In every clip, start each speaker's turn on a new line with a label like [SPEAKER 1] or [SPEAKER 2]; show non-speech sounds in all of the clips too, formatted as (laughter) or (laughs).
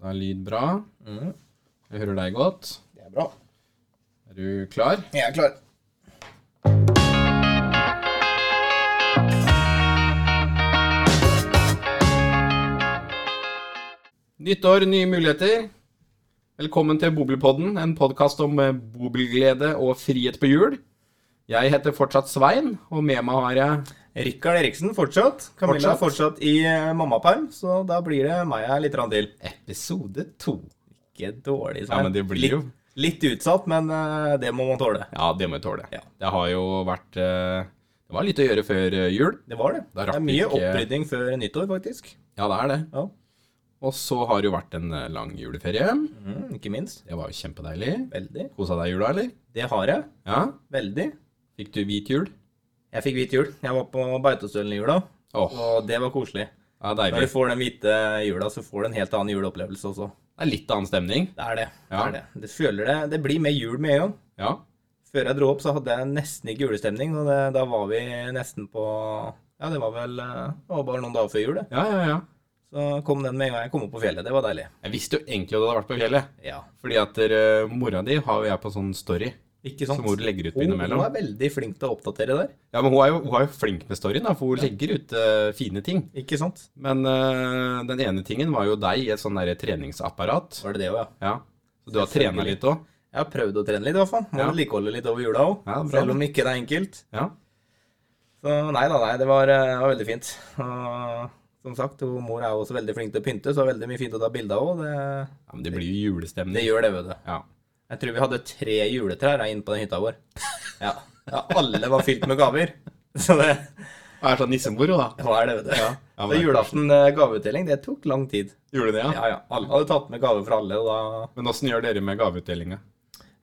[SPEAKER 1] Da er lyd bra. Mm. Jeg hører deg godt.
[SPEAKER 2] Det er bra.
[SPEAKER 1] Er du klar?
[SPEAKER 2] Jeg er klar.
[SPEAKER 1] Nytt år, nye muligheter. Velkommen til Bobilpodden, en podkast om eh, bobilglede og frihet på hjul. Jeg heter fortsatt Svein, og med meg har jeg
[SPEAKER 2] Rikard Eriksen fortsatt. Camilla
[SPEAKER 1] Fortsatt.
[SPEAKER 2] fortsatt, fortsatt i eh, mammaperm, så da blir det meg her litt grann til.
[SPEAKER 1] episode to.
[SPEAKER 2] Ikke dårlig,
[SPEAKER 1] Ja, men det blir
[SPEAKER 2] litt,
[SPEAKER 1] jo.
[SPEAKER 2] Litt utsatt, men eh, det må man tåle.
[SPEAKER 1] Ja, det må vi tåle.
[SPEAKER 2] Ja.
[SPEAKER 1] Det har jo vært eh, Det var litt å gjøre før eh, jul.
[SPEAKER 2] Det var det.
[SPEAKER 1] Da
[SPEAKER 2] det
[SPEAKER 1] rakk
[SPEAKER 2] er
[SPEAKER 1] vi
[SPEAKER 2] mye
[SPEAKER 1] ikke-
[SPEAKER 2] opprydding før nyttår, faktisk.
[SPEAKER 1] Ja, det er det.
[SPEAKER 2] Ja,
[SPEAKER 1] Og så har det jo vært en eh, lang juleferie.
[SPEAKER 2] mm, Ikke minst.
[SPEAKER 1] Det var jo kjempedeilig.
[SPEAKER 2] Veldig.
[SPEAKER 1] Kosa deg i jula, eller?
[SPEAKER 2] Det har jeg.
[SPEAKER 1] Ja?
[SPEAKER 2] Veldig.
[SPEAKER 1] Fikk du hvit jul?
[SPEAKER 2] Jeg fikk hvit jul. Jeg var på Beitostølen i jula,
[SPEAKER 1] Åh,
[SPEAKER 2] og det var koselig.
[SPEAKER 1] det er
[SPEAKER 2] Når du
[SPEAKER 1] deilig.
[SPEAKER 2] får den hvite jula, så får du en helt annen juleopplevelse også.
[SPEAKER 1] Det er litt annen stemning.
[SPEAKER 2] Det er det. Det,
[SPEAKER 1] Ja.
[SPEAKER 2] er det. det føler det. Det blir mer jul med en gang.
[SPEAKER 1] Ja.
[SPEAKER 2] Før jeg dro opp, så hadde jeg nesten ikke julestemning. Og det, da var vi nesten på Ja, det var vel eh, det var bare noen dager før jul, det.
[SPEAKER 1] Ja, ja, ja.
[SPEAKER 2] Så kom den med en gang jeg kom opp på fjellet. Det var deilig.
[SPEAKER 1] Jeg visste jo egentlig at du hadde vært på fjellet.
[SPEAKER 2] Ja.
[SPEAKER 1] Fordi at dere- mora di har jo jeg på sånn story.
[SPEAKER 2] Ikke sant?
[SPEAKER 1] Som Sånn. hun legger ut på
[SPEAKER 2] Hun, hun
[SPEAKER 1] innimellom.
[SPEAKER 2] er veldig flink til å oppdatere der.
[SPEAKER 1] Ja, men hun er jo, hun er jo flink med storyen, da, for hun legger ut eh, fine ting.
[SPEAKER 2] Ikke sant?
[SPEAKER 1] Men eh, den ene tingen var jo deg i et sånn derre treningsapparat.
[SPEAKER 2] Var det det òg, ja.
[SPEAKER 1] Ja. Så du har trena litt òg.
[SPEAKER 2] Jeg har prøvd å trene litt, i hvert fall. Må
[SPEAKER 1] Ja.
[SPEAKER 2] vedlikeholde litt over jula òg.
[SPEAKER 1] Ja, bra.
[SPEAKER 2] selv om ikke det er enkelt.
[SPEAKER 1] Ja.
[SPEAKER 2] Så nei da, nei. Det var, eh, var veldig fint. Og som sagt, hun mor er jo også veldig flink til å pynte, så det er veldig mye fint å ta bilder av. Det,
[SPEAKER 1] ja. Men det blir jo julestemning.
[SPEAKER 2] det gjør det, vet du.
[SPEAKER 1] Ja.
[SPEAKER 2] Jeg tror vi hadde tre juletrær inne på den hytta (laughs) vår. Ja. ja alle var fylt med gaver. (laughs) Så det
[SPEAKER 1] Det er sånn nissemoro, da.
[SPEAKER 2] hva er det, vet du. Ja.
[SPEAKER 1] Ja, men-
[SPEAKER 2] Så julaften eh, gaveutdeling, det tok lang tid.
[SPEAKER 1] Gjorde det, ja.
[SPEAKER 2] Ja, ja. Alle hadde tatt med gaver fra alle, og da
[SPEAKER 1] Men åssen gjør dere med gaveutdelinga?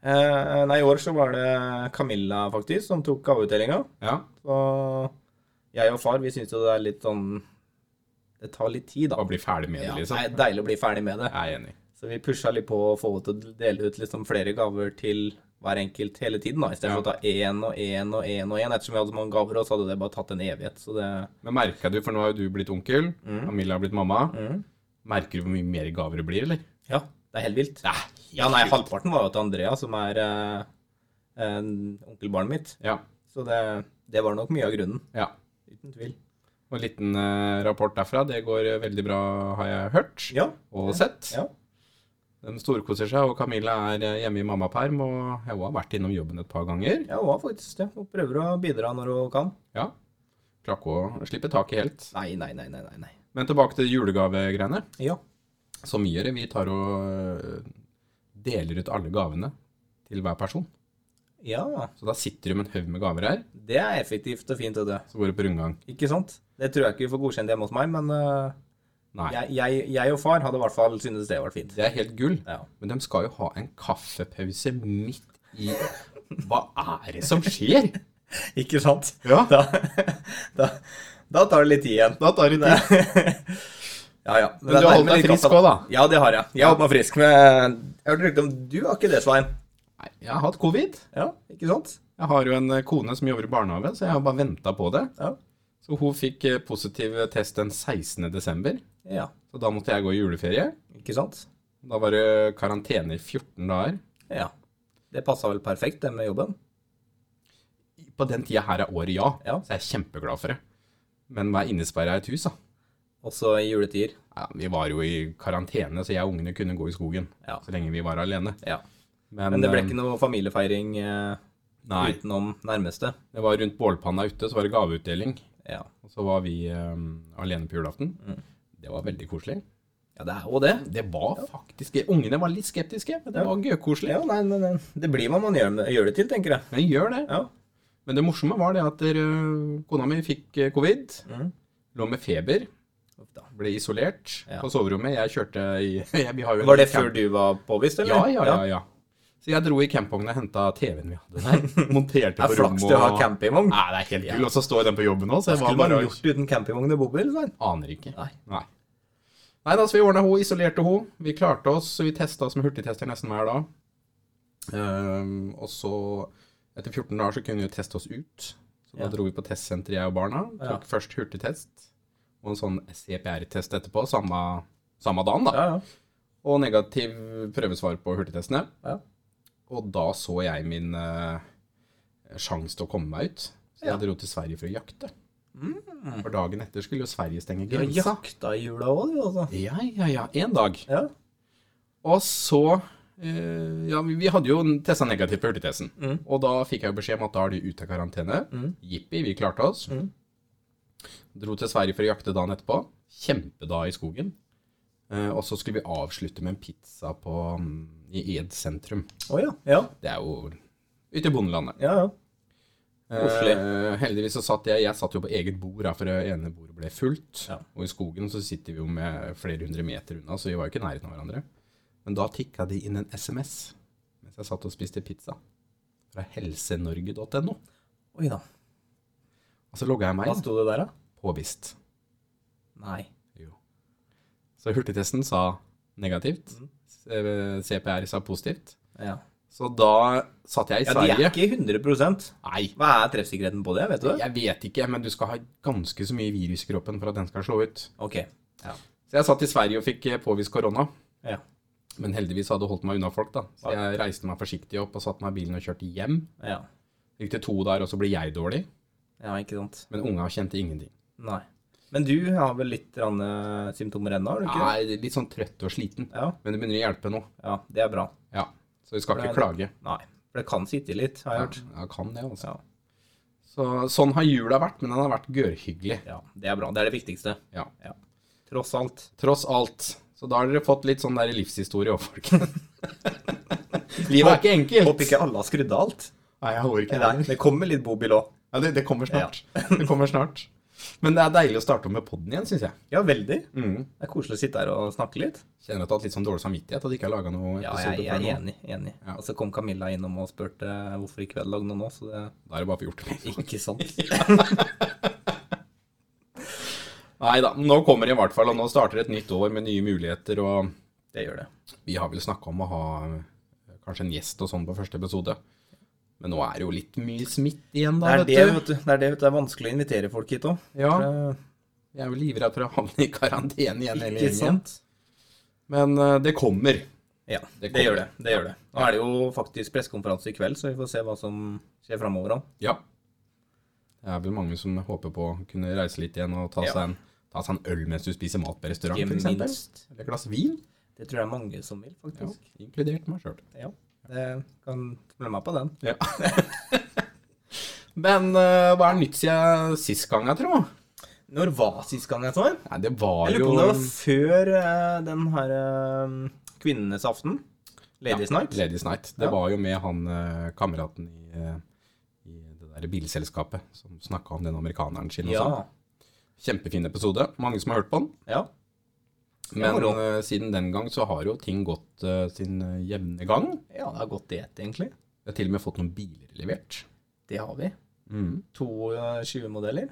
[SPEAKER 2] Eh, nei, i år så var det Camilla faktisk som tok gaveutdelinga.
[SPEAKER 1] Ja.
[SPEAKER 2] Så jeg og far vi syns jo det er litt sånn Det tar litt tid, da.
[SPEAKER 1] Bare bli ferdig med det,
[SPEAKER 2] Ja,
[SPEAKER 1] liksom.
[SPEAKER 2] det er deilig å bli ferdig med det.
[SPEAKER 1] Jeg er enig.
[SPEAKER 2] Så vi pusha litt på å få henne til å dele ut liksom flere gaver til hver enkelt hele tiden, da. Istedenfor for å ta én og én og én og én. Ettersom vi hadde så mange gaver, også, så hadde det bare tatt en evighet. Så det
[SPEAKER 1] Men merka du, for nå har jo du blitt onkel, Camilla har blitt mamma.
[SPEAKER 2] Mm.
[SPEAKER 1] Merker du hvor mye mer gaver det blir, eller?
[SPEAKER 2] Ja, det er helt vilt.
[SPEAKER 1] Det er helt
[SPEAKER 2] Ja, nei,
[SPEAKER 1] sjukt.
[SPEAKER 2] halvparten var jo til Andrea, som er eh, eh, onkelbarnet mitt.
[SPEAKER 1] Ja.
[SPEAKER 2] Så det, det var nok mye av grunnen.
[SPEAKER 1] ja.
[SPEAKER 2] Uten tvil.
[SPEAKER 1] Og en liten eh, rapport derfra. Det går eh, veldig bra, har jeg hørt
[SPEAKER 2] Ja.
[SPEAKER 1] og sett.
[SPEAKER 2] ja.
[SPEAKER 1] De storkoser seg, og Camilla er eh, hjemme i mammaperm. Og jeg har også vært innom jobben et par ganger.
[SPEAKER 2] Ja, hun har faktisk det. Hun prøver å bidra når hun kan.
[SPEAKER 1] Ja. Klarer ikke å slippe taket helt.
[SPEAKER 2] Nei, nei, nei, nei, nei. nei.
[SPEAKER 1] Men tilbake til julegavegreiene.
[SPEAKER 2] Ja.
[SPEAKER 1] Som gjør det. Vi tar og eh, deler ut alle gavene til hver person.
[SPEAKER 2] ja.
[SPEAKER 1] Så da sitter du med en haug med gaver her,
[SPEAKER 2] Det er effektivt og fint, vet du.
[SPEAKER 1] så går du på rundgang.
[SPEAKER 2] Ikke sant? Det tror jeg ikke vi får godkjent hjemme hos meg, men øh,
[SPEAKER 1] Nei.
[SPEAKER 2] jeg, jeg, jeg og far hadde i hvert fall syntes det var fint.
[SPEAKER 1] Det er helt gull.
[SPEAKER 2] Ja.
[SPEAKER 1] Men de skal jo ha en kaffepause midt i Hva er det som skjer?
[SPEAKER 2] Ikke sant?
[SPEAKER 1] Ja.
[SPEAKER 2] Da, da, da tar det litt tid igjen.
[SPEAKER 1] Da tar det tid.
[SPEAKER 2] Ja, ja.
[SPEAKER 1] Men du har holdt deg frisk òg, da.
[SPEAKER 2] Ja, det har jeg. Jeg har holdt meg frisk. Men jeg hørte rykte om du har ikke det, Svein.
[SPEAKER 1] Nei, jeg har hatt covid.
[SPEAKER 2] Ja, ikke sant?
[SPEAKER 1] Jeg har jo en eh, kone som jobber i barnehage, så jeg har bare venta på det.
[SPEAKER 2] Ja.
[SPEAKER 1] Så hun fikk eh, positiv test den 16.12.,
[SPEAKER 2] Ja,
[SPEAKER 1] så da måtte jeg gå i juleferie.
[SPEAKER 2] ikke sant?
[SPEAKER 1] Da var det karantene i 14 dager.
[SPEAKER 2] Ja. Det passa vel perfekt, det med jobben.
[SPEAKER 1] På den tida her er året ja,
[SPEAKER 2] Ja.
[SPEAKER 1] så jeg er kjempeglad for det. Men være innesperra i et hus, da.
[SPEAKER 2] Også i juletider.
[SPEAKER 1] Ja, vi var jo i karantene, så jeg og ungene kunne gå i skogen
[SPEAKER 2] Ja.
[SPEAKER 1] så lenge vi var alene. eh,
[SPEAKER 2] Ja. Men eh, det ble ikke noe familiefeiring eh,
[SPEAKER 1] Nei.
[SPEAKER 2] utenom nærmeste.
[SPEAKER 1] Det var rundt bålpanna ute, så var det gaveutdeling.
[SPEAKER 2] Ja.
[SPEAKER 1] Og så var vi eh, alene på julaften.
[SPEAKER 2] Mm.
[SPEAKER 1] Det var veldig koselig.
[SPEAKER 2] ja, det er jo det.
[SPEAKER 1] Det var faktisk Ungene var litt skeptiske, men det var gøykoselig.
[SPEAKER 2] Ja, nei, nei, nei. Det blir hva man gjør, gjør det til, tenker jeg.
[SPEAKER 1] Men jeg gjør det.
[SPEAKER 2] Ja.
[SPEAKER 1] Men det morsomme var det at eh, kona mi fikk eh, covid.
[SPEAKER 2] Mhm.
[SPEAKER 1] Lå med feber.
[SPEAKER 2] Uff da.
[SPEAKER 1] Ble isolert
[SPEAKER 2] Ja.
[SPEAKER 1] på soverommet. Jeg kjørte i (laughs) jeg, vi har jo en
[SPEAKER 2] Var det
[SPEAKER 1] camp-
[SPEAKER 2] før du var påvist, eller?
[SPEAKER 1] Ja, ja, ja. ja. Så jeg dro i campvognen og henta TV-en vi hadde
[SPEAKER 2] (laughs)
[SPEAKER 1] der.
[SPEAKER 2] Det
[SPEAKER 1] Monterte
[SPEAKER 2] er
[SPEAKER 1] på rommet.
[SPEAKER 2] flaks du har
[SPEAKER 1] og-
[SPEAKER 2] campingvogn.
[SPEAKER 1] Nei, det er helt gull. Og så står den på jobben òg, så jeg var
[SPEAKER 2] Skulle man
[SPEAKER 1] bare
[SPEAKER 2] gjort uten campingvogn i bobil? Svein?
[SPEAKER 1] Aner ikke.
[SPEAKER 2] Nei.
[SPEAKER 1] Nei. Nei, da, så vi ordna ho, isolerte ho. Vi klarte oss, så vi testa oss med hurtigtester nesten hver dag. Ehm, og så, etter 14 dager, så kunne vi jo teste oss ut. Så da
[SPEAKER 2] Ja.
[SPEAKER 1] dro vi på testsenteret, jeg og barna.
[SPEAKER 2] Ja.
[SPEAKER 1] Tok først hurtigtest, og en sånn CPR-test etterpå, samme, samme dagen, da.
[SPEAKER 2] Ja, ja.
[SPEAKER 1] og negativ prøvesvar på hurtigtestene.
[SPEAKER 2] Ja.
[SPEAKER 1] Og da så jeg min eh, sjanse til å komme meg ut. Så jeg
[SPEAKER 2] Ja. Mm.
[SPEAKER 1] dro til Sverige for å jakte. For dagen etter skulle jo Sverige stenge
[SPEAKER 2] Du har
[SPEAKER 1] grensa.
[SPEAKER 2] jakta i jula òg, du, altså.
[SPEAKER 1] Ja, ja, ja. Én dag.
[SPEAKER 2] Ja.
[SPEAKER 1] Og så eh, Ja, vi vi hadde jo testa negativt på hurtigtesten. Og da fikk jeg jo beskjed om at da er du ute av karantene. Jippi, vi klarte oss.
[SPEAKER 2] Mm.
[SPEAKER 1] Dro til Sverige for å jakte dagen etterpå. Kjempedag i skogen. Eh, og så skulle vi avslutte med en pizza på, mm, i Ed sentrum.
[SPEAKER 2] Å ja. Ja,
[SPEAKER 1] Det er jo ute i bondelandet.
[SPEAKER 2] ja. ja. Koselig.
[SPEAKER 1] Eh, heldigvis så satt jeg Jeg satt jo på eget bord, da, for det ene bordet ble fullt.
[SPEAKER 2] Ja.
[SPEAKER 1] Og i skogen så sitter vi jo med flere hundre meter unna, så vi var jo ikke i nærheten av hverandre. Men da tikka det inn en SMS mens jeg satt og spiste pizza. Fra helsenorge.no.
[SPEAKER 2] Oi da.
[SPEAKER 1] Og så logga jeg meg
[SPEAKER 2] Hva
[SPEAKER 1] inn.
[SPEAKER 2] sto det der, da?
[SPEAKER 1] Påvist.
[SPEAKER 2] Nei.
[SPEAKER 1] Så hurtigtesten sa negativt.
[SPEAKER 2] Mm.
[SPEAKER 1] eh, CPR sa positivt.
[SPEAKER 2] Ja.
[SPEAKER 1] Så da satt jeg i
[SPEAKER 2] ja, de er
[SPEAKER 1] Sverige.
[SPEAKER 2] ikke 100
[SPEAKER 1] Nei,
[SPEAKER 2] Hva er treffsikkerheten på det, vet du? det?
[SPEAKER 1] jeg vet ikke, men du skal ha ganske så mye virus i kroppen for at den skal slå ut.
[SPEAKER 2] Ok.
[SPEAKER 1] Så jeg satt i Sverige og fikk eh, påvist korona.
[SPEAKER 2] Ja.
[SPEAKER 1] Men heldigvis hadde jeg holdt meg unna folk, da. Så jeg reiste meg forsiktig opp og satte meg i bilen og kjørte hjem.
[SPEAKER 2] Ja.
[SPEAKER 1] Gikk til to der, og så ble jeg dårlig.
[SPEAKER 2] ja, ikke sant.
[SPEAKER 1] Men unga kjente ingenting.
[SPEAKER 2] Nei. Men du har vel litt rann, eh, symptomer ennå, har du ikke?
[SPEAKER 1] Nei, litt sånn trøtt og sliten.
[SPEAKER 2] Ja.
[SPEAKER 1] Men det begynner å hjelpe nå.
[SPEAKER 2] ja. Det er bra.
[SPEAKER 1] Ja. Så vi skal
[SPEAKER 2] Det er-
[SPEAKER 1] ikke klage.
[SPEAKER 2] Nei. For det kan sitte litt, har jeg hørt.
[SPEAKER 1] Ja, kan det, altså.
[SPEAKER 2] Ja.
[SPEAKER 1] Så, sånn har jula vært, men den har vært gørrhyggelig.
[SPEAKER 2] Ja, det er bra. Det er det viktigste.
[SPEAKER 1] Ja.
[SPEAKER 2] Tross alt.
[SPEAKER 1] Tross alt. Så da har dere fått litt sånn der livshistorie òg,
[SPEAKER 2] (laughs)
[SPEAKER 1] folkens. Livet er ikke enkelt.
[SPEAKER 2] Håper ikke alle har skrudd av alt.
[SPEAKER 1] Nei, jeg håper ikke det.
[SPEAKER 2] Nei, det kommer litt bobil òg.
[SPEAKER 1] Ja, det, det kommer snart. (laughs) det kommer snart. Men det er deilig å starte med podden igjen, syns jeg.
[SPEAKER 2] Ja, veldig.
[SPEAKER 1] Mm.
[SPEAKER 2] Det er koselig å sitte her og snakke litt.
[SPEAKER 1] Kjenner at jeg har hatt litt sånn dårlig samvittighet at jeg ikke har laga noe
[SPEAKER 2] Ja,
[SPEAKER 1] episode
[SPEAKER 2] jeg, jeg er
[SPEAKER 1] før nå.
[SPEAKER 2] enig. enig.
[SPEAKER 1] Ja.
[SPEAKER 2] Og så kom Camilla innom og spurte eh, hvorfor ikke vi hadde lagd noe nå, så det
[SPEAKER 1] Da er det bare å få gjort det. (laughs) med en gang.
[SPEAKER 2] ikke (laughs) sant.
[SPEAKER 1] Nei da, nå kommer det i hvert fall, og nå starter et nytt år med nye muligheter, og
[SPEAKER 2] Det gjør det.
[SPEAKER 1] vi har vel snakka om å ha eh, kanskje en gjest og sånn på første episode. Men nå er det jo litt mye smitt igjen,
[SPEAKER 2] Det
[SPEAKER 1] da,
[SPEAKER 2] er det,
[SPEAKER 1] vet du.
[SPEAKER 2] vet du. Det er det, vet du. Det er vanskelig å invitere folk hit òg.
[SPEAKER 1] Ja, jeg er jo livredd for å havne i karantene igjen hele
[SPEAKER 2] Ikke
[SPEAKER 1] gjengen.
[SPEAKER 2] sant?
[SPEAKER 1] Men eh, det kommer.
[SPEAKER 2] Ja, det,
[SPEAKER 1] kommer.
[SPEAKER 2] gjør det. Det gjør det. Nå er det jo faktisk pressekonferanse i kveld, så vi får se hva som skjer framover òg.
[SPEAKER 1] Ja. Det er vel mange som håper på å kunne reise litt igjen og ta,
[SPEAKER 2] Ja.
[SPEAKER 1] seg, en, ta seg en øl mens du spiser mat på restaurant,
[SPEAKER 2] Ikke
[SPEAKER 1] f.eks. Eller
[SPEAKER 2] minst.
[SPEAKER 1] et glass vin.
[SPEAKER 2] Det tror jeg er mange som vil,
[SPEAKER 1] Ja,
[SPEAKER 2] faktisk.
[SPEAKER 1] inkludert meg sjøl.
[SPEAKER 2] Ja. Det kan følge meg på den.
[SPEAKER 1] Men eh, hva er nytt siden sist gang, jeg tror?
[SPEAKER 2] Når var sist gang jeg så den?
[SPEAKER 1] Nei, det var
[SPEAKER 2] Jeg
[SPEAKER 1] jo
[SPEAKER 2] lurer på om det var før eh, den her eh, kvinnenes aften. Ladies
[SPEAKER 1] Ja,
[SPEAKER 2] Night.
[SPEAKER 1] Ladies Night. Det
[SPEAKER 2] Ja.
[SPEAKER 1] var jo med han eh, kameraten i, eh, i det der bilselskapet som snakka om den amerikaneren sin og
[SPEAKER 2] Ja.
[SPEAKER 1] sånn. Kjempefin episode. Mange som har hørt på den.
[SPEAKER 2] ja.
[SPEAKER 1] Men
[SPEAKER 2] moro.
[SPEAKER 1] eh, siden den gang så har jo ting gått eh, sin eh, jevne gang.
[SPEAKER 2] Ja, det har gått i ett, egentlig.
[SPEAKER 1] Vi har til og med fått noen biler levert.
[SPEAKER 2] Det har vi.
[SPEAKER 1] Mm.
[SPEAKER 2] To eh, 20-modeller.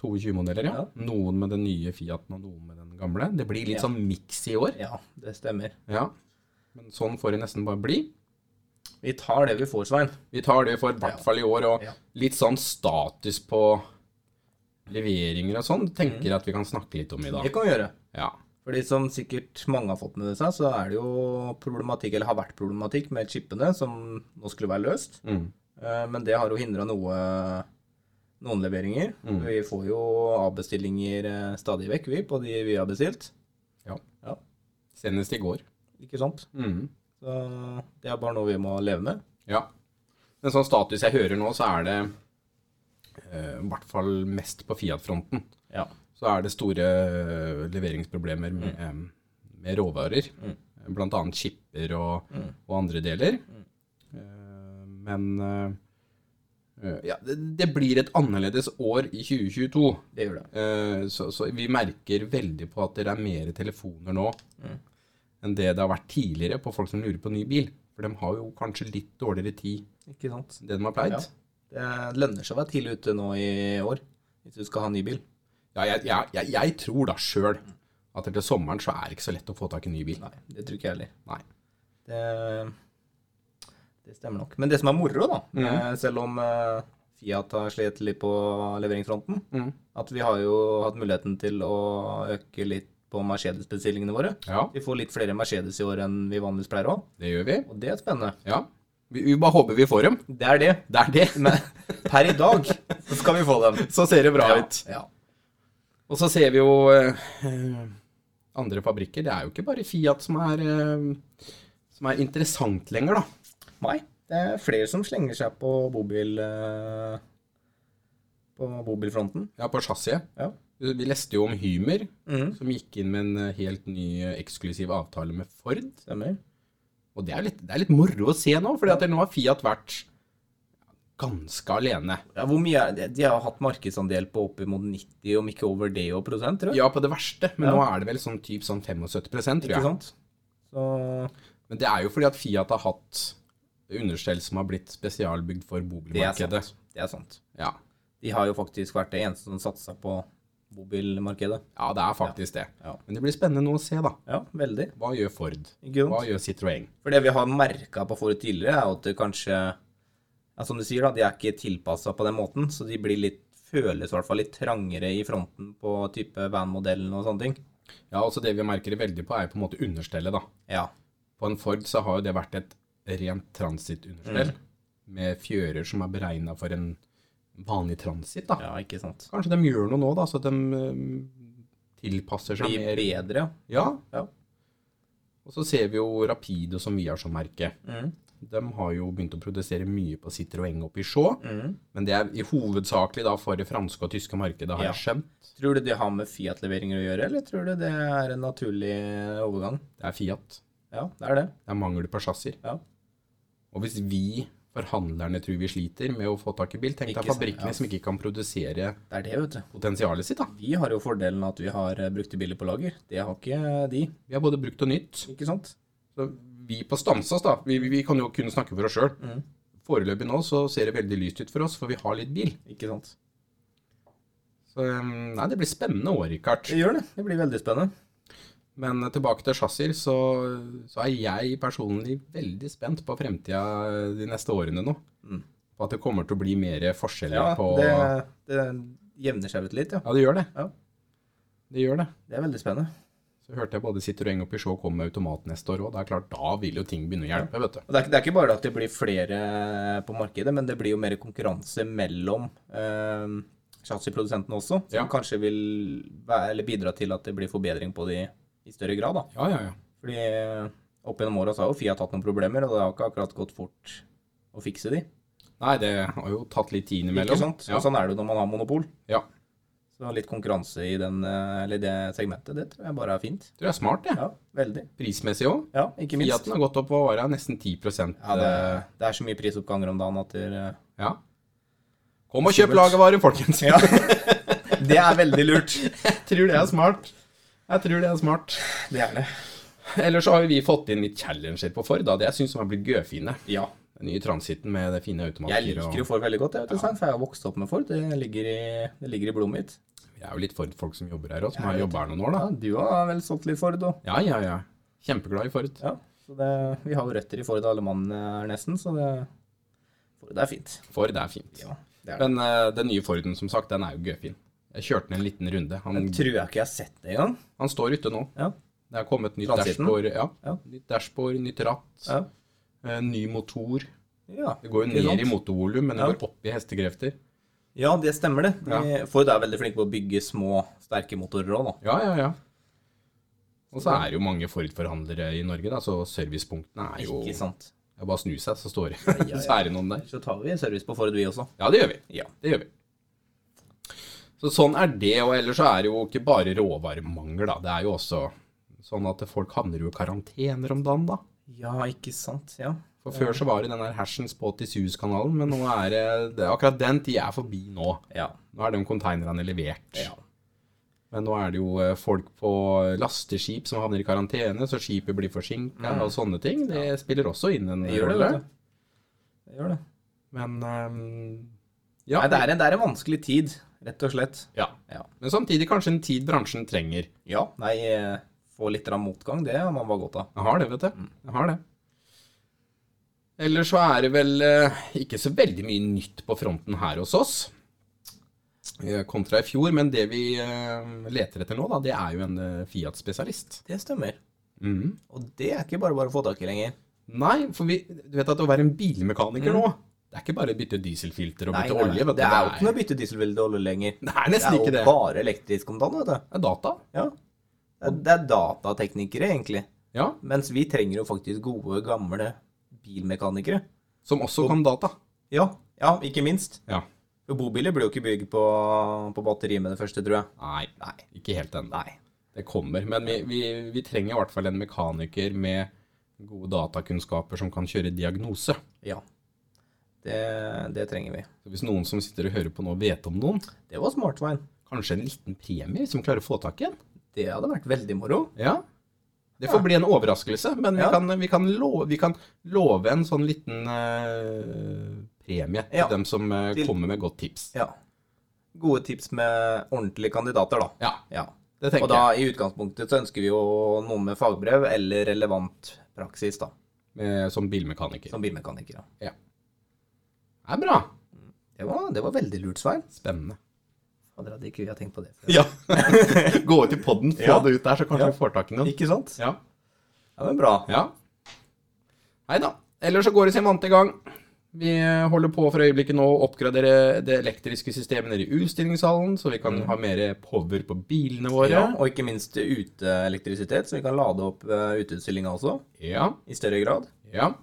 [SPEAKER 1] 22-modeller, ja.
[SPEAKER 2] Ja.
[SPEAKER 1] Noen med den nye Fiaten og noen med den gamle. Det blir litt
[SPEAKER 2] Ja.
[SPEAKER 1] sånn miks i år.
[SPEAKER 2] Ja, det stemmer.
[SPEAKER 1] Ja. Men sånn får det nesten bare bli.
[SPEAKER 2] Vi tar det vi får, Svein.
[SPEAKER 1] Vi tar det for i hvert
[SPEAKER 2] Ja.
[SPEAKER 1] fall i år, og
[SPEAKER 2] Ja.
[SPEAKER 1] litt sånn status på leveringer og sånn, tenker jeg at vi kan snakke litt om i
[SPEAKER 2] Det
[SPEAKER 1] dag.
[SPEAKER 2] kan vi gjøre.
[SPEAKER 1] Ja.
[SPEAKER 2] Fordi som sikkert mange har fått med seg, så er det jo problematikk, eller har vært problematikk med chipene som nå skulle være løst.
[SPEAKER 1] Mm.
[SPEAKER 2] Eh, Men det har jo hindra noe noen leveringer.
[SPEAKER 1] Mm.
[SPEAKER 2] Vi får jo avbestillinger eh, stadig vekk, vi, på de vi har bestilt.
[SPEAKER 1] Senest i går.
[SPEAKER 2] Ikke sant?
[SPEAKER 1] Mm.
[SPEAKER 2] Så det er bare noe vi må leve med.
[SPEAKER 1] Ja. Men sånn status jeg hører nå, så er det eh, i hvert fall mest på Fiat-fronten.
[SPEAKER 2] Ja.
[SPEAKER 1] Så er det store eh, leveringsproblemer med, eh, med råvarer.
[SPEAKER 2] Mm.
[SPEAKER 1] Blant annet skipper og,
[SPEAKER 2] Mm.
[SPEAKER 1] og andre deler.
[SPEAKER 2] Mm.
[SPEAKER 1] Eh, men eh, eh, ja, det, det blir et annerledes år i 2022.
[SPEAKER 2] Det gjør det.
[SPEAKER 1] Eh, så, så vi merker veldig på at det er mer telefoner nå
[SPEAKER 2] Mm.
[SPEAKER 1] enn det det har vært tidligere på folk som lurer på ny bil. For de har jo kanskje litt dårligere tid
[SPEAKER 2] Ikke sant?
[SPEAKER 1] enn det de har pleid.
[SPEAKER 2] Ja. Det lønner seg å være tidlig ute nå i år, hvis du skal ha ny bil.
[SPEAKER 1] Ja, jeg, jeg, jeg, jeg tror da sjøl at etter sommeren så er det ikke så lett å få tak i ny bil.
[SPEAKER 2] Nei, det tror ikke jeg heller.
[SPEAKER 1] Nei.
[SPEAKER 2] Det, det stemmer nok. Men det som er moro, da, med- selv om eh, Fiat har slitt litt på leveringsfronten,
[SPEAKER 1] Mm.
[SPEAKER 2] at vi har jo hatt muligheten til å øke litt på på Mercedes-bestillingene våre.
[SPEAKER 1] Ja,
[SPEAKER 2] Vi får litt flere Mercedes i år enn vi vanligvis pleier å ha,
[SPEAKER 1] det gjør vi.
[SPEAKER 2] og det er spennende.
[SPEAKER 1] Ja. Vi, vi bare håper vi får dem.
[SPEAKER 2] Det er det.
[SPEAKER 1] Det er det.
[SPEAKER 2] Men per i dag så skal vi få dem.
[SPEAKER 1] (laughs) Så ser det bra
[SPEAKER 2] Ja,
[SPEAKER 1] ut.
[SPEAKER 2] ja.
[SPEAKER 1] Og så ser vi jo eh, andre fabrikker. Det er jo ikke bare Fiat som er, eh, som er interessant lenger, da.
[SPEAKER 2] Nei, det er flere som slenger seg på bobil... eh, På bobilfronten.
[SPEAKER 1] Ja, på chassiset.
[SPEAKER 2] Ja.
[SPEAKER 1] Vi leste jo om Hymer,
[SPEAKER 2] Mhm.
[SPEAKER 1] som gikk inn med en eh, helt ny eh, eksklusiv avtale med Ford.
[SPEAKER 2] Stemmer.
[SPEAKER 1] Og det er litt, det er litt moro å se nå, for nå har Fiat vært ganske alene.
[SPEAKER 2] Ja, hvor mye er det? De har hatt markedsandel på oppimot 90, om ikke over det og prosent, tror jeg.
[SPEAKER 1] Ja, på det verste, men
[SPEAKER 2] Ja.
[SPEAKER 1] nå er det vel sånn typ sånn 75 tror jeg.
[SPEAKER 2] ikke sant? Så
[SPEAKER 1] Men det er jo fordi at Fiat har hatt understell som har blitt spesialbygd for
[SPEAKER 2] det er
[SPEAKER 1] bobilmarkedet.
[SPEAKER 2] sant. Det er sant.
[SPEAKER 1] Ja.
[SPEAKER 2] De har jo faktisk vært det eneste som satsa på bobilmarkedet.
[SPEAKER 1] ja, det er faktisk det.
[SPEAKER 2] Ja.
[SPEAKER 1] Men det blir spennende nå å se, da.
[SPEAKER 2] Ja, veldig.
[SPEAKER 1] Hva gjør Ford?
[SPEAKER 2] Ikke
[SPEAKER 1] Hva
[SPEAKER 2] sant?
[SPEAKER 1] gjør Citroën?
[SPEAKER 2] For det vi har merka på Ford tidligere, er jo at det kanskje ja, Som du sier, da, de er ikke tilpassa på den måten, så de blir litt føles i hvert fall litt trangere i fronten på type van-modellen og sånne ting.
[SPEAKER 1] Ja, også det vi merker det veldig på, er på en måte understellet, da.
[SPEAKER 2] Ja.
[SPEAKER 1] På en Ford så har jo det vært et rent transitunderstell,
[SPEAKER 2] Mm.
[SPEAKER 1] med fjører som er beregna for en vanlig transit, da.
[SPEAKER 2] ja, ikke sant.
[SPEAKER 1] Kanskje de gjør noe nå, da, så at de eh, tilpasser seg
[SPEAKER 2] Blir
[SPEAKER 1] mer.
[SPEAKER 2] bedre.
[SPEAKER 1] Ja.
[SPEAKER 2] Ja.
[SPEAKER 1] Og så ser vi jo Rapido, som vi har som merke.
[SPEAKER 2] Mm.
[SPEAKER 1] De har jo begynt å produsere mye på Citroën og Peugeot,
[SPEAKER 2] Mm.
[SPEAKER 1] men det er i hovedsakelig da for det franske og tyske markedet, har
[SPEAKER 2] Ja.
[SPEAKER 1] jeg skjønt.
[SPEAKER 2] Tror du det har med Fiat-leveringer å gjøre, eller tror du det er en naturlig overgang?
[SPEAKER 1] Det er Fiat.
[SPEAKER 2] Ja, det er det.
[SPEAKER 1] Det er mangel på chassiser.
[SPEAKER 2] Ja.
[SPEAKER 1] Og hvis vi forhandlerne tror vi sliter med å få tak i bil, tenk deg
[SPEAKER 2] Ikke sant,
[SPEAKER 1] fabrikkene
[SPEAKER 2] ja.
[SPEAKER 1] som ikke kan produsere
[SPEAKER 2] Det er det, vet du.
[SPEAKER 1] potensialet sitt, da.
[SPEAKER 2] Vi har jo fordelen at vi har eh, brukte biler på lager. Det har ikke eh, de,
[SPEAKER 1] Vi har både brukt og nytt.
[SPEAKER 2] ikke sant?
[SPEAKER 1] Så vi på Stamsås, da, vi, vi- vi kan jo kun snakke for oss sjøl.
[SPEAKER 2] Mhm.
[SPEAKER 1] Foreløpig nå så ser det veldig lyst ut for oss, for vi har litt bil.
[SPEAKER 2] Ikke sant?
[SPEAKER 1] Så um, nei, det blir spennende år, Rikard.
[SPEAKER 2] Det gjør det. Det blir veldig spennende.
[SPEAKER 1] Men tilbake til chassiser, så, så er jeg personlig veldig spent på fremtida de neste årene nå.
[SPEAKER 2] Mhm.
[SPEAKER 1] På at det kommer til å bli mer forskjeller
[SPEAKER 2] Ja,
[SPEAKER 1] på
[SPEAKER 2] det, det jevner seg ut litt, ja.
[SPEAKER 1] Ja, det gjør det.
[SPEAKER 2] Ja.
[SPEAKER 1] Det gjør det.
[SPEAKER 2] Det er veldig spennende.
[SPEAKER 1] Så hørte jeg både Citroën og Peugeot komme med automat neste år òg. Det er klart, da vil jo ting begynne å hjelpe, vet du.
[SPEAKER 2] Og det er, ikke- det er ikke bare at det blir flere eh, på markedet, men det blir jo mer konkurranse mellom eh, chassiprodusentene også, som
[SPEAKER 1] Ja.
[SPEAKER 2] kanskje vil være, eller bidra til at det blir forbedring på de i større grad. da.
[SPEAKER 1] Ja, ja, ja.
[SPEAKER 2] Fordi eh, opp gjennom åra har jo Fiat hatt noen problemer, og det har ikke akkurat gått fort å fikse de.
[SPEAKER 1] Nei, det har jo tatt litt tid innimellom.
[SPEAKER 2] Ikke sant?
[SPEAKER 1] Ja.
[SPEAKER 2] Og sånn er det jo når man har monopol.
[SPEAKER 1] ja.
[SPEAKER 2] Så litt konkurranse i den, eh, eller det segmentet, det tror jeg bare er fint.
[SPEAKER 1] Tror jeg er smart, det.
[SPEAKER 2] Ja, veldig.
[SPEAKER 1] Prismessig òg.
[SPEAKER 2] Ja, ikke minst.
[SPEAKER 1] Fiaten har gått opp hva var det, nesten 10
[SPEAKER 2] Ja, det, det er så mye prisoppganger om dagen at det, eh,
[SPEAKER 1] ja. Kom og kjøp lagervarer,
[SPEAKER 2] (laughs)
[SPEAKER 1] folkens.
[SPEAKER 2] ja. det er veldig lurt.
[SPEAKER 1] Jeg tror det er smart. Jeg tror det er smart.
[SPEAKER 2] Det er det.
[SPEAKER 1] Ellers så har jo vi fått inn litt challenger på Ford. Da. Det jeg syns har blitt gøfine.
[SPEAKER 2] Ja.
[SPEAKER 1] Den nye transiten med det fine automatstyret.
[SPEAKER 2] Jeg liker jo Ford veldig godt, jeg vet du, Stein, for jeg har vokst opp med Ford. Det ligger i, det ligger i blodet mitt.
[SPEAKER 1] Vi er jo litt Ford-folk som jobber her òg, som
[SPEAKER 2] Jeg
[SPEAKER 1] har
[SPEAKER 2] vet.
[SPEAKER 1] jobba her noen år, da.
[SPEAKER 2] Ja, du har vel solgt litt Ford òg.
[SPEAKER 1] Ja, ja, ja. Kjempeglad i Ford.
[SPEAKER 2] Ja, så det, vi har jo røtter i Ford alle mann her nesten, så det, Ford er fint.
[SPEAKER 1] Ford er fint.
[SPEAKER 2] Ja, det er det.
[SPEAKER 1] Men eh, den nye Forden, som sagt, den er jo gøyfin. Jeg kjørte den en liten runde. Han,
[SPEAKER 2] Jeg tror jeg ikke jeg har sett det engang.
[SPEAKER 1] han står ute nå.
[SPEAKER 2] Ja.
[SPEAKER 1] Det er kommet nytt
[SPEAKER 2] Transiten?
[SPEAKER 1] dashbord, ja.
[SPEAKER 2] Ja.
[SPEAKER 1] nytt dashbord, nytt ratt,
[SPEAKER 2] Ja.
[SPEAKER 1] eh, ny motor.
[SPEAKER 2] Ja,
[SPEAKER 1] Det går jo
[SPEAKER 2] ikke
[SPEAKER 1] ned i
[SPEAKER 2] sant?
[SPEAKER 1] motorvolum, men det
[SPEAKER 2] Ja.
[SPEAKER 1] går opp i hestekrefter.
[SPEAKER 2] Ja, det stemmer det. De, Ford er veldig flinke på å bygge små, sterke motorer òg, da.
[SPEAKER 1] Ja, ja, ja. Og så er det jo mange Ford-forhandlere i Norge, da, så servicepunktene er jo
[SPEAKER 2] Ikke
[SPEAKER 1] Det
[SPEAKER 2] sant.
[SPEAKER 1] er bare å snu seg, så står det
[SPEAKER 2] ja, ja.
[SPEAKER 1] (laughs) så er det noen der.
[SPEAKER 2] Så tar vi service på Ford, vi også.
[SPEAKER 1] Ja, det gjør vi.
[SPEAKER 2] Ja.
[SPEAKER 1] Det gjør vi. Så sånn er det, og ellers så er det jo ikke bare råvaremangel, da. Det er jo også sånn at folk havner jo i karantener om dagen, da.
[SPEAKER 2] Ja, ikke sant. Ja.
[SPEAKER 1] For før så var det den der hersens båt i Suezkanalen, men nå er det, det er akkurat den tida er forbi nå.
[SPEAKER 2] Ja.
[SPEAKER 1] Nå er de konteinerne levert.
[SPEAKER 2] ja.
[SPEAKER 1] Men nå er det jo eh, folk på lasteskip som havner i karantene, så skipet blir forsinka og sånne ting. Det spiller også inn en
[SPEAKER 2] Mm. Det gjør det,
[SPEAKER 1] rolle.
[SPEAKER 2] vet du. Det gjør det.
[SPEAKER 1] Men ehm, ja.
[SPEAKER 2] Nei, det er, en, det er en vanskelig tid, rett og slett.
[SPEAKER 1] ja.
[SPEAKER 2] Ja.
[SPEAKER 1] Men samtidig kanskje en tid bransjen trenger.
[SPEAKER 2] Ja, nei, eh, få litt grann motgang, det har man bare godt av.
[SPEAKER 1] Jeg har det, vet du.
[SPEAKER 2] Mm.
[SPEAKER 1] Jeg har det. Ellers så er det vel eh, ikke så veldig mye nytt på fronten her hos oss. eh, kontra i fjor. Men det vi eh, leter etter nå, da, det er jo en eh, Fiat-spesialist.
[SPEAKER 2] Det stemmer.
[SPEAKER 1] Mhm.
[SPEAKER 2] Og det er ikke bare bare å få tak i lenger.
[SPEAKER 1] Nei, for vi, du vet at å være en bilmekaniker nå, det er ikke bare å bytte dieselfilter og
[SPEAKER 2] Mm. Nei,
[SPEAKER 1] bytte
[SPEAKER 2] nei,
[SPEAKER 1] olje.
[SPEAKER 2] nei.
[SPEAKER 1] Vet du,
[SPEAKER 2] Det er jo ikke noe å bytte dieselbilde olje lenger.
[SPEAKER 1] Det er
[SPEAKER 2] (laughs) Det er
[SPEAKER 1] nesten
[SPEAKER 2] jo
[SPEAKER 1] ikke det.
[SPEAKER 2] bare elektrisk om dagen, vet du.
[SPEAKER 1] Det er data.
[SPEAKER 2] Ja. Det er, det er datateknikere, egentlig.
[SPEAKER 1] Ja,
[SPEAKER 2] Mens vi trenger jo faktisk gode, gamle bilmekanikere.
[SPEAKER 1] Som også kan data.
[SPEAKER 2] Ja, ja ikke minst.
[SPEAKER 1] Ja.
[SPEAKER 2] For bobiler blir jo ikke bygd på, på batteri med det første, tror jeg.
[SPEAKER 1] Nei,
[SPEAKER 2] Nei.
[SPEAKER 1] ikke helt ennå.
[SPEAKER 2] Nei.
[SPEAKER 1] Det kommer. Men vi, vi, vi trenger i hvert fall en mekaniker med gode datakunnskaper som kan kjøre diagnose.
[SPEAKER 2] Ja. Det, det trenger vi.
[SPEAKER 1] Så hvis noen som sitter og hører på nå, vet om noen,
[SPEAKER 2] Det var smart, Svein.
[SPEAKER 1] kanskje en liten premie som klarer å få tak i en?
[SPEAKER 2] Det hadde vært veldig moro.
[SPEAKER 1] Ja. Det får
[SPEAKER 2] Ja.
[SPEAKER 1] bli en overraskelse, men vi,
[SPEAKER 2] Ja.
[SPEAKER 1] kan, vi, kan, love, vi kan love en sånn liten eh, premie til
[SPEAKER 2] Ja.
[SPEAKER 1] dem som eh,
[SPEAKER 2] Til-
[SPEAKER 1] kommer med godt tips.
[SPEAKER 2] Ja. Gode tips med ordentlige kandidater, da.
[SPEAKER 1] Ja,
[SPEAKER 2] Ja.
[SPEAKER 1] det tenker
[SPEAKER 2] Og da i utgangspunktet så ønsker vi jo noen med fagbrev eller relevant praksis, da.
[SPEAKER 1] jeg med, som bilmekaniker.
[SPEAKER 2] Som bilmekaniker. da.
[SPEAKER 1] Det er bra.
[SPEAKER 2] Det var, det var veldig lurt, Svein.
[SPEAKER 1] Spennende.
[SPEAKER 2] Fader, hadde ikke vi ha tenkt på det før.
[SPEAKER 1] Ja. (laughs) Gå ut i poden, få
[SPEAKER 2] Ja.
[SPEAKER 1] det ut der, så kanskje
[SPEAKER 2] Ja.
[SPEAKER 1] vi får tak i noen.
[SPEAKER 2] Ikke sant?
[SPEAKER 1] Ja.
[SPEAKER 2] Ja, men bra.
[SPEAKER 1] ja. Nei da. Ellers så går det sin vante gang. Vi holder på for øyeblikket nå å oppgradere det elektriske systemet nede i utstillingshallen, så vi kan ha mer power på bilene våre.
[SPEAKER 2] Mm. Ja, og ikke minst uteelektrisitet, så vi kan lade opp eh, uteutstillinga også,
[SPEAKER 1] Ja.
[SPEAKER 2] i større grad.
[SPEAKER 1] ja.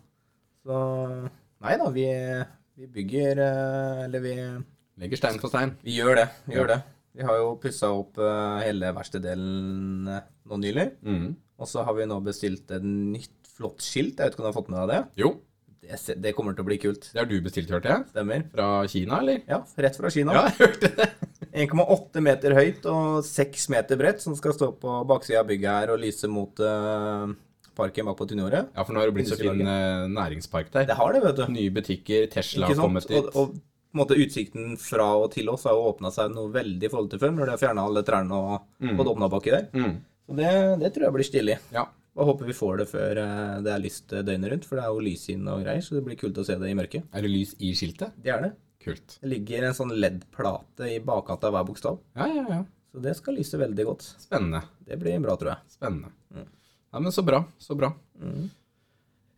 [SPEAKER 2] Så nei da, vi, vi bygger eh, Eller vi,
[SPEAKER 1] Legger stein for stein.
[SPEAKER 2] vi gjør det. Vi gjør det. Vi har jo pussa opp eh, hele verksteddelen eh, nå nylig.
[SPEAKER 1] Mhm.
[SPEAKER 2] Og så har vi nå bestilt et nytt flott skilt. Jeg vet ikke om du har fått med deg det?
[SPEAKER 1] Jo,
[SPEAKER 2] Det, se- det kommer til å bli kult.
[SPEAKER 1] det har du bestilt, hørte jeg.
[SPEAKER 2] Stemmer.
[SPEAKER 1] Fra Kina, eller?
[SPEAKER 2] Ja, rett fra Kina.
[SPEAKER 1] jeg hørte det.
[SPEAKER 2] 1,8 meter høyt og 6 meter bredt, som skal stå på baksida av bygget her og lyse mot eh, parken bak på Tunjordet.
[SPEAKER 1] Ja, for nå har det blitt så fin eh, næringspark der.
[SPEAKER 2] Det har det, vet du.
[SPEAKER 1] Nye butikker, Tesla
[SPEAKER 2] Ikke
[SPEAKER 1] har
[SPEAKER 2] sant?
[SPEAKER 1] kommet dit.
[SPEAKER 2] Og, og på en måte utsikten fra og til oss har jo åpna seg noe veldig i forhold til før, når de har fjerna alle trærne og
[SPEAKER 1] Mm.
[SPEAKER 2] fått åpna baki der.
[SPEAKER 1] Mm.
[SPEAKER 2] Så det, det tror jeg blir stilig.
[SPEAKER 1] Ja.
[SPEAKER 2] Bare håper vi får det før eh, det er lyst døgnet rundt, for det er jo lys inn og greier, så det blir kult å se det i mørket.
[SPEAKER 1] Er det lys i skiltet?
[SPEAKER 2] Det er det.
[SPEAKER 1] Kult.
[SPEAKER 2] Det ligger en sånn LED-plate i bakkant av hver bokstav,
[SPEAKER 1] Ja, ja, ja.
[SPEAKER 2] så det skal lyse veldig godt.
[SPEAKER 1] Spennende.
[SPEAKER 2] Det blir bra, tror jeg.
[SPEAKER 1] Spennende.
[SPEAKER 2] Mm.
[SPEAKER 1] Ja, men så bra. Så bra.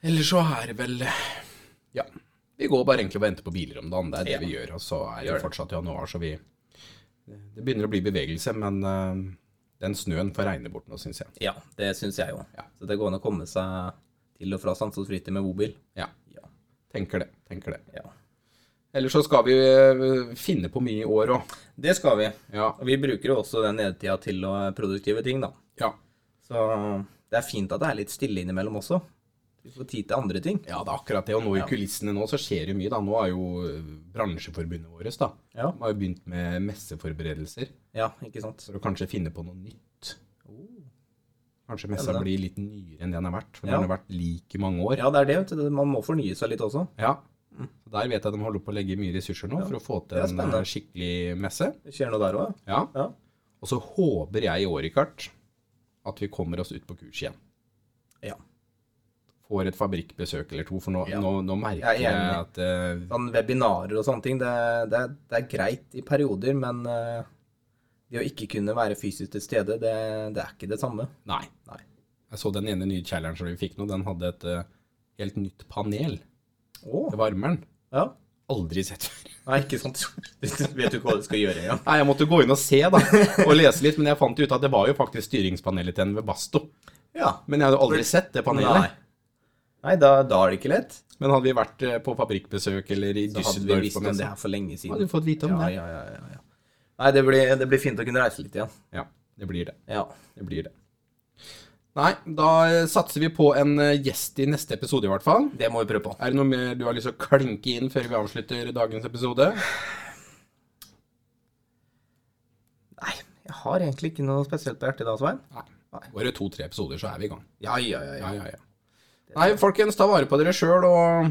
[SPEAKER 1] Ellers så er det vel Ja. Vi går bare egentlig og venter på biler om dagen. Det er det
[SPEAKER 2] Ja.
[SPEAKER 1] vi gjør. Og så er
[SPEAKER 2] Gjør
[SPEAKER 1] det
[SPEAKER 2] det.
[SPEAKER 1] fortsatt januar, så vi Det begynner å bli bevegelse, men eh, den snøen får regne bort nå, syns jeg.
[SPEAKER 2] Ja, det syns jeg jo.
[SPEAKER 1] Ja.
[SPEAKER 2] Så det går an å komme seg til og fra Sandsås fritid med bobil.
[SPEAKER 1] Ja.
[SPEAKER 2] Ja.
[SPEAKER 1] Tenker det. Tenker det.
[SPEAKER 2] ja.
[SPEAKER 1] Ellers så skal vi eh, finne på mye i år òg.
[SPEAKER 2] Det skal vi.
[SPEAKER 1] Ja.
[SPEAKER 2] Og vi bruker jo også den nedetida til å eh, produktive ting, da.
[SPEAKER 1] Ja.
[SPEAKER 2] Så eh, det er fint at det er litt stille innimellom også. Vi får tid til andre ting.
[SPEAKER 1] ja, det er akkurat det. Og nå i
[SPEAKER 2] Ja.
[SPEAKER 1] kulissene nå så skjer det mye. da. Nå er jo eh, bransjeforbundet vårt da.
[SPEAKER 2] Ja.
[SPEAKER 1] De har jo begynt med messeforberedelser.
[SPEAKER 2] Ja, ikke sant.
[SPEAKER 1] For å kanskje finne på noe nytt. Oh. Kanskje messa
[SPEAKER 2] Ja, det-
[SPEAKER 1] blir litt nyere enn det den har vært. For
[SPEAKER 2] Ja.
[SPEAKER 1] den har vært lik i mange år.
[SPEAKER 2] Ja, det er det. vet du. Man må fornye seg litt også.
[SPEAKER 1] Ja. Så der vet jeg de holder på å legge mye ressurser nå for å få
[SPEAKER 2] Det
[SPEAKER 1] til
[SPEAKER 2] er
[SPEAKER 1] en
[SPEAKER 2] spennende.
[SPEAKER 1] eh, skikkelig messe.
[SPEAKER 2] Det skjer noe der òg,
[SPEAKER 1] Ja.
[SPEAKER 2] ja.
[SPEAKER 1] Og så håper jeg i år, Rikard, at vi kommer oss ut på kurs igjen.
[SPEAKER 2] Ja.
[SPEAKER 1] Får et fabrikkbesøk eller to, for nå,
[SPEAKER 2] Ja.
[SPEAKER 1] nå, nå merker
[SPEAKER 2] Jeg er
[SPEAKER 1] jeg,
[SPEAKER 2] enig.
[SPEAKER 1] at eh,
[SPEAKER 2] Sånn webinarer og sånne ting, det, det, det er greit i perioder, men eh, det å ikke kunne være fysisk til stede, det, det er ikke det samme.
[SPEAKER 1] Nei.
[SPEAKER 2] Nei.
[SPEAKER 1] Jeg så den ene nye challengeren vi fikk nå, den hadde et eh, helt nytt panel
[SPEAKER 2] Å,
[SPEAKER 1] til varmeren.
[SPEAKER 2] ja.
[SPEAKER 1] Aldri sett før.
[SPEAKER 2] Nei, ikke sant. Du (laughs) vet jo ikke hva du skal gjøre engang.
[SPEAKER 1] Nei, jeg måtte gå inn og se, da, og lese litt, men jeg fant ut at det var jo faktisk styringspanelet til NV Basto.
[SPEAKER 2] Ja.
[SPEAKER 1] Men jeg hadde jo aldri sett det
[SPEAKER 2] Nei,
[SPEAKER 1] panelet.
[SPEAKER 2] Nei da, da er det ikke lett.
[SPEAKER 1] Men hadde vi vært eh, på fabrikkbesøk eller i
[SPEAKER 2] Da hadde vi
[SPEAKER 1] Düsseldorf
[SPEAKER 2] visst
[SPEAKER 1] på
[SPEAKER 2] om det
[SPEAKER 1] messa,
[SPEAKER 2] her for lenge siden.
[SPEAKER 1] hadde vi fått vite om
[SPEAKER 2] ja,
[SPEAKER 1] det.
[SPEAKER 2] ja, ja, ja, ja. Nei, det blir, det blir fint å kunne reise litt igjen.
[SPEAKER 1] Ja, det blir det.
[SPEAKER 2] Ja.
[SPEAKER 1] Det blir det. Nei, da eh, satser vi på en eh, gjest i neste episode, i hvert fall.
[SPEAKER 2] Det må vi prøve på.
[SPEAKER 1] Er det noe mer du har lyst til å klinke inn før vi avslutter dagens episode?
[SPEAKER 2] Nei, jeg har egentlig ikke noe spesielt på hjertet da, Svein.
[SPEAKER 1] Nei. Bare to-tre episoder, så er vi i gang.
[SPEAKER 2] Ja, ja,
[SPEAKER 1] Ja, ja, ja. Nei, folkens, ta vare på dere sjøl, og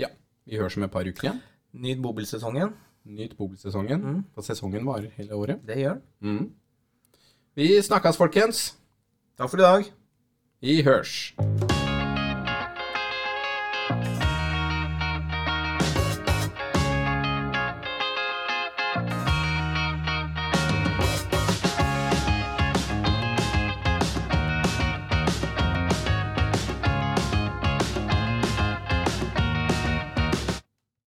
[SPEAKER 1] ja, vi høres om et par uker igjen.
[SPEAKER 2] Nyt bobilsesongen.
[SPEAKER 1] Nyt bobilsesongen. For sesongen varer hele året.
[SPEAKER 2] Det gjør den.
[SPEAKER 1] Mhm. Vi snakkes, folkens.
[SPEAKER 2] Takk for i dag.
[SPEAKER 1] Vi hørs.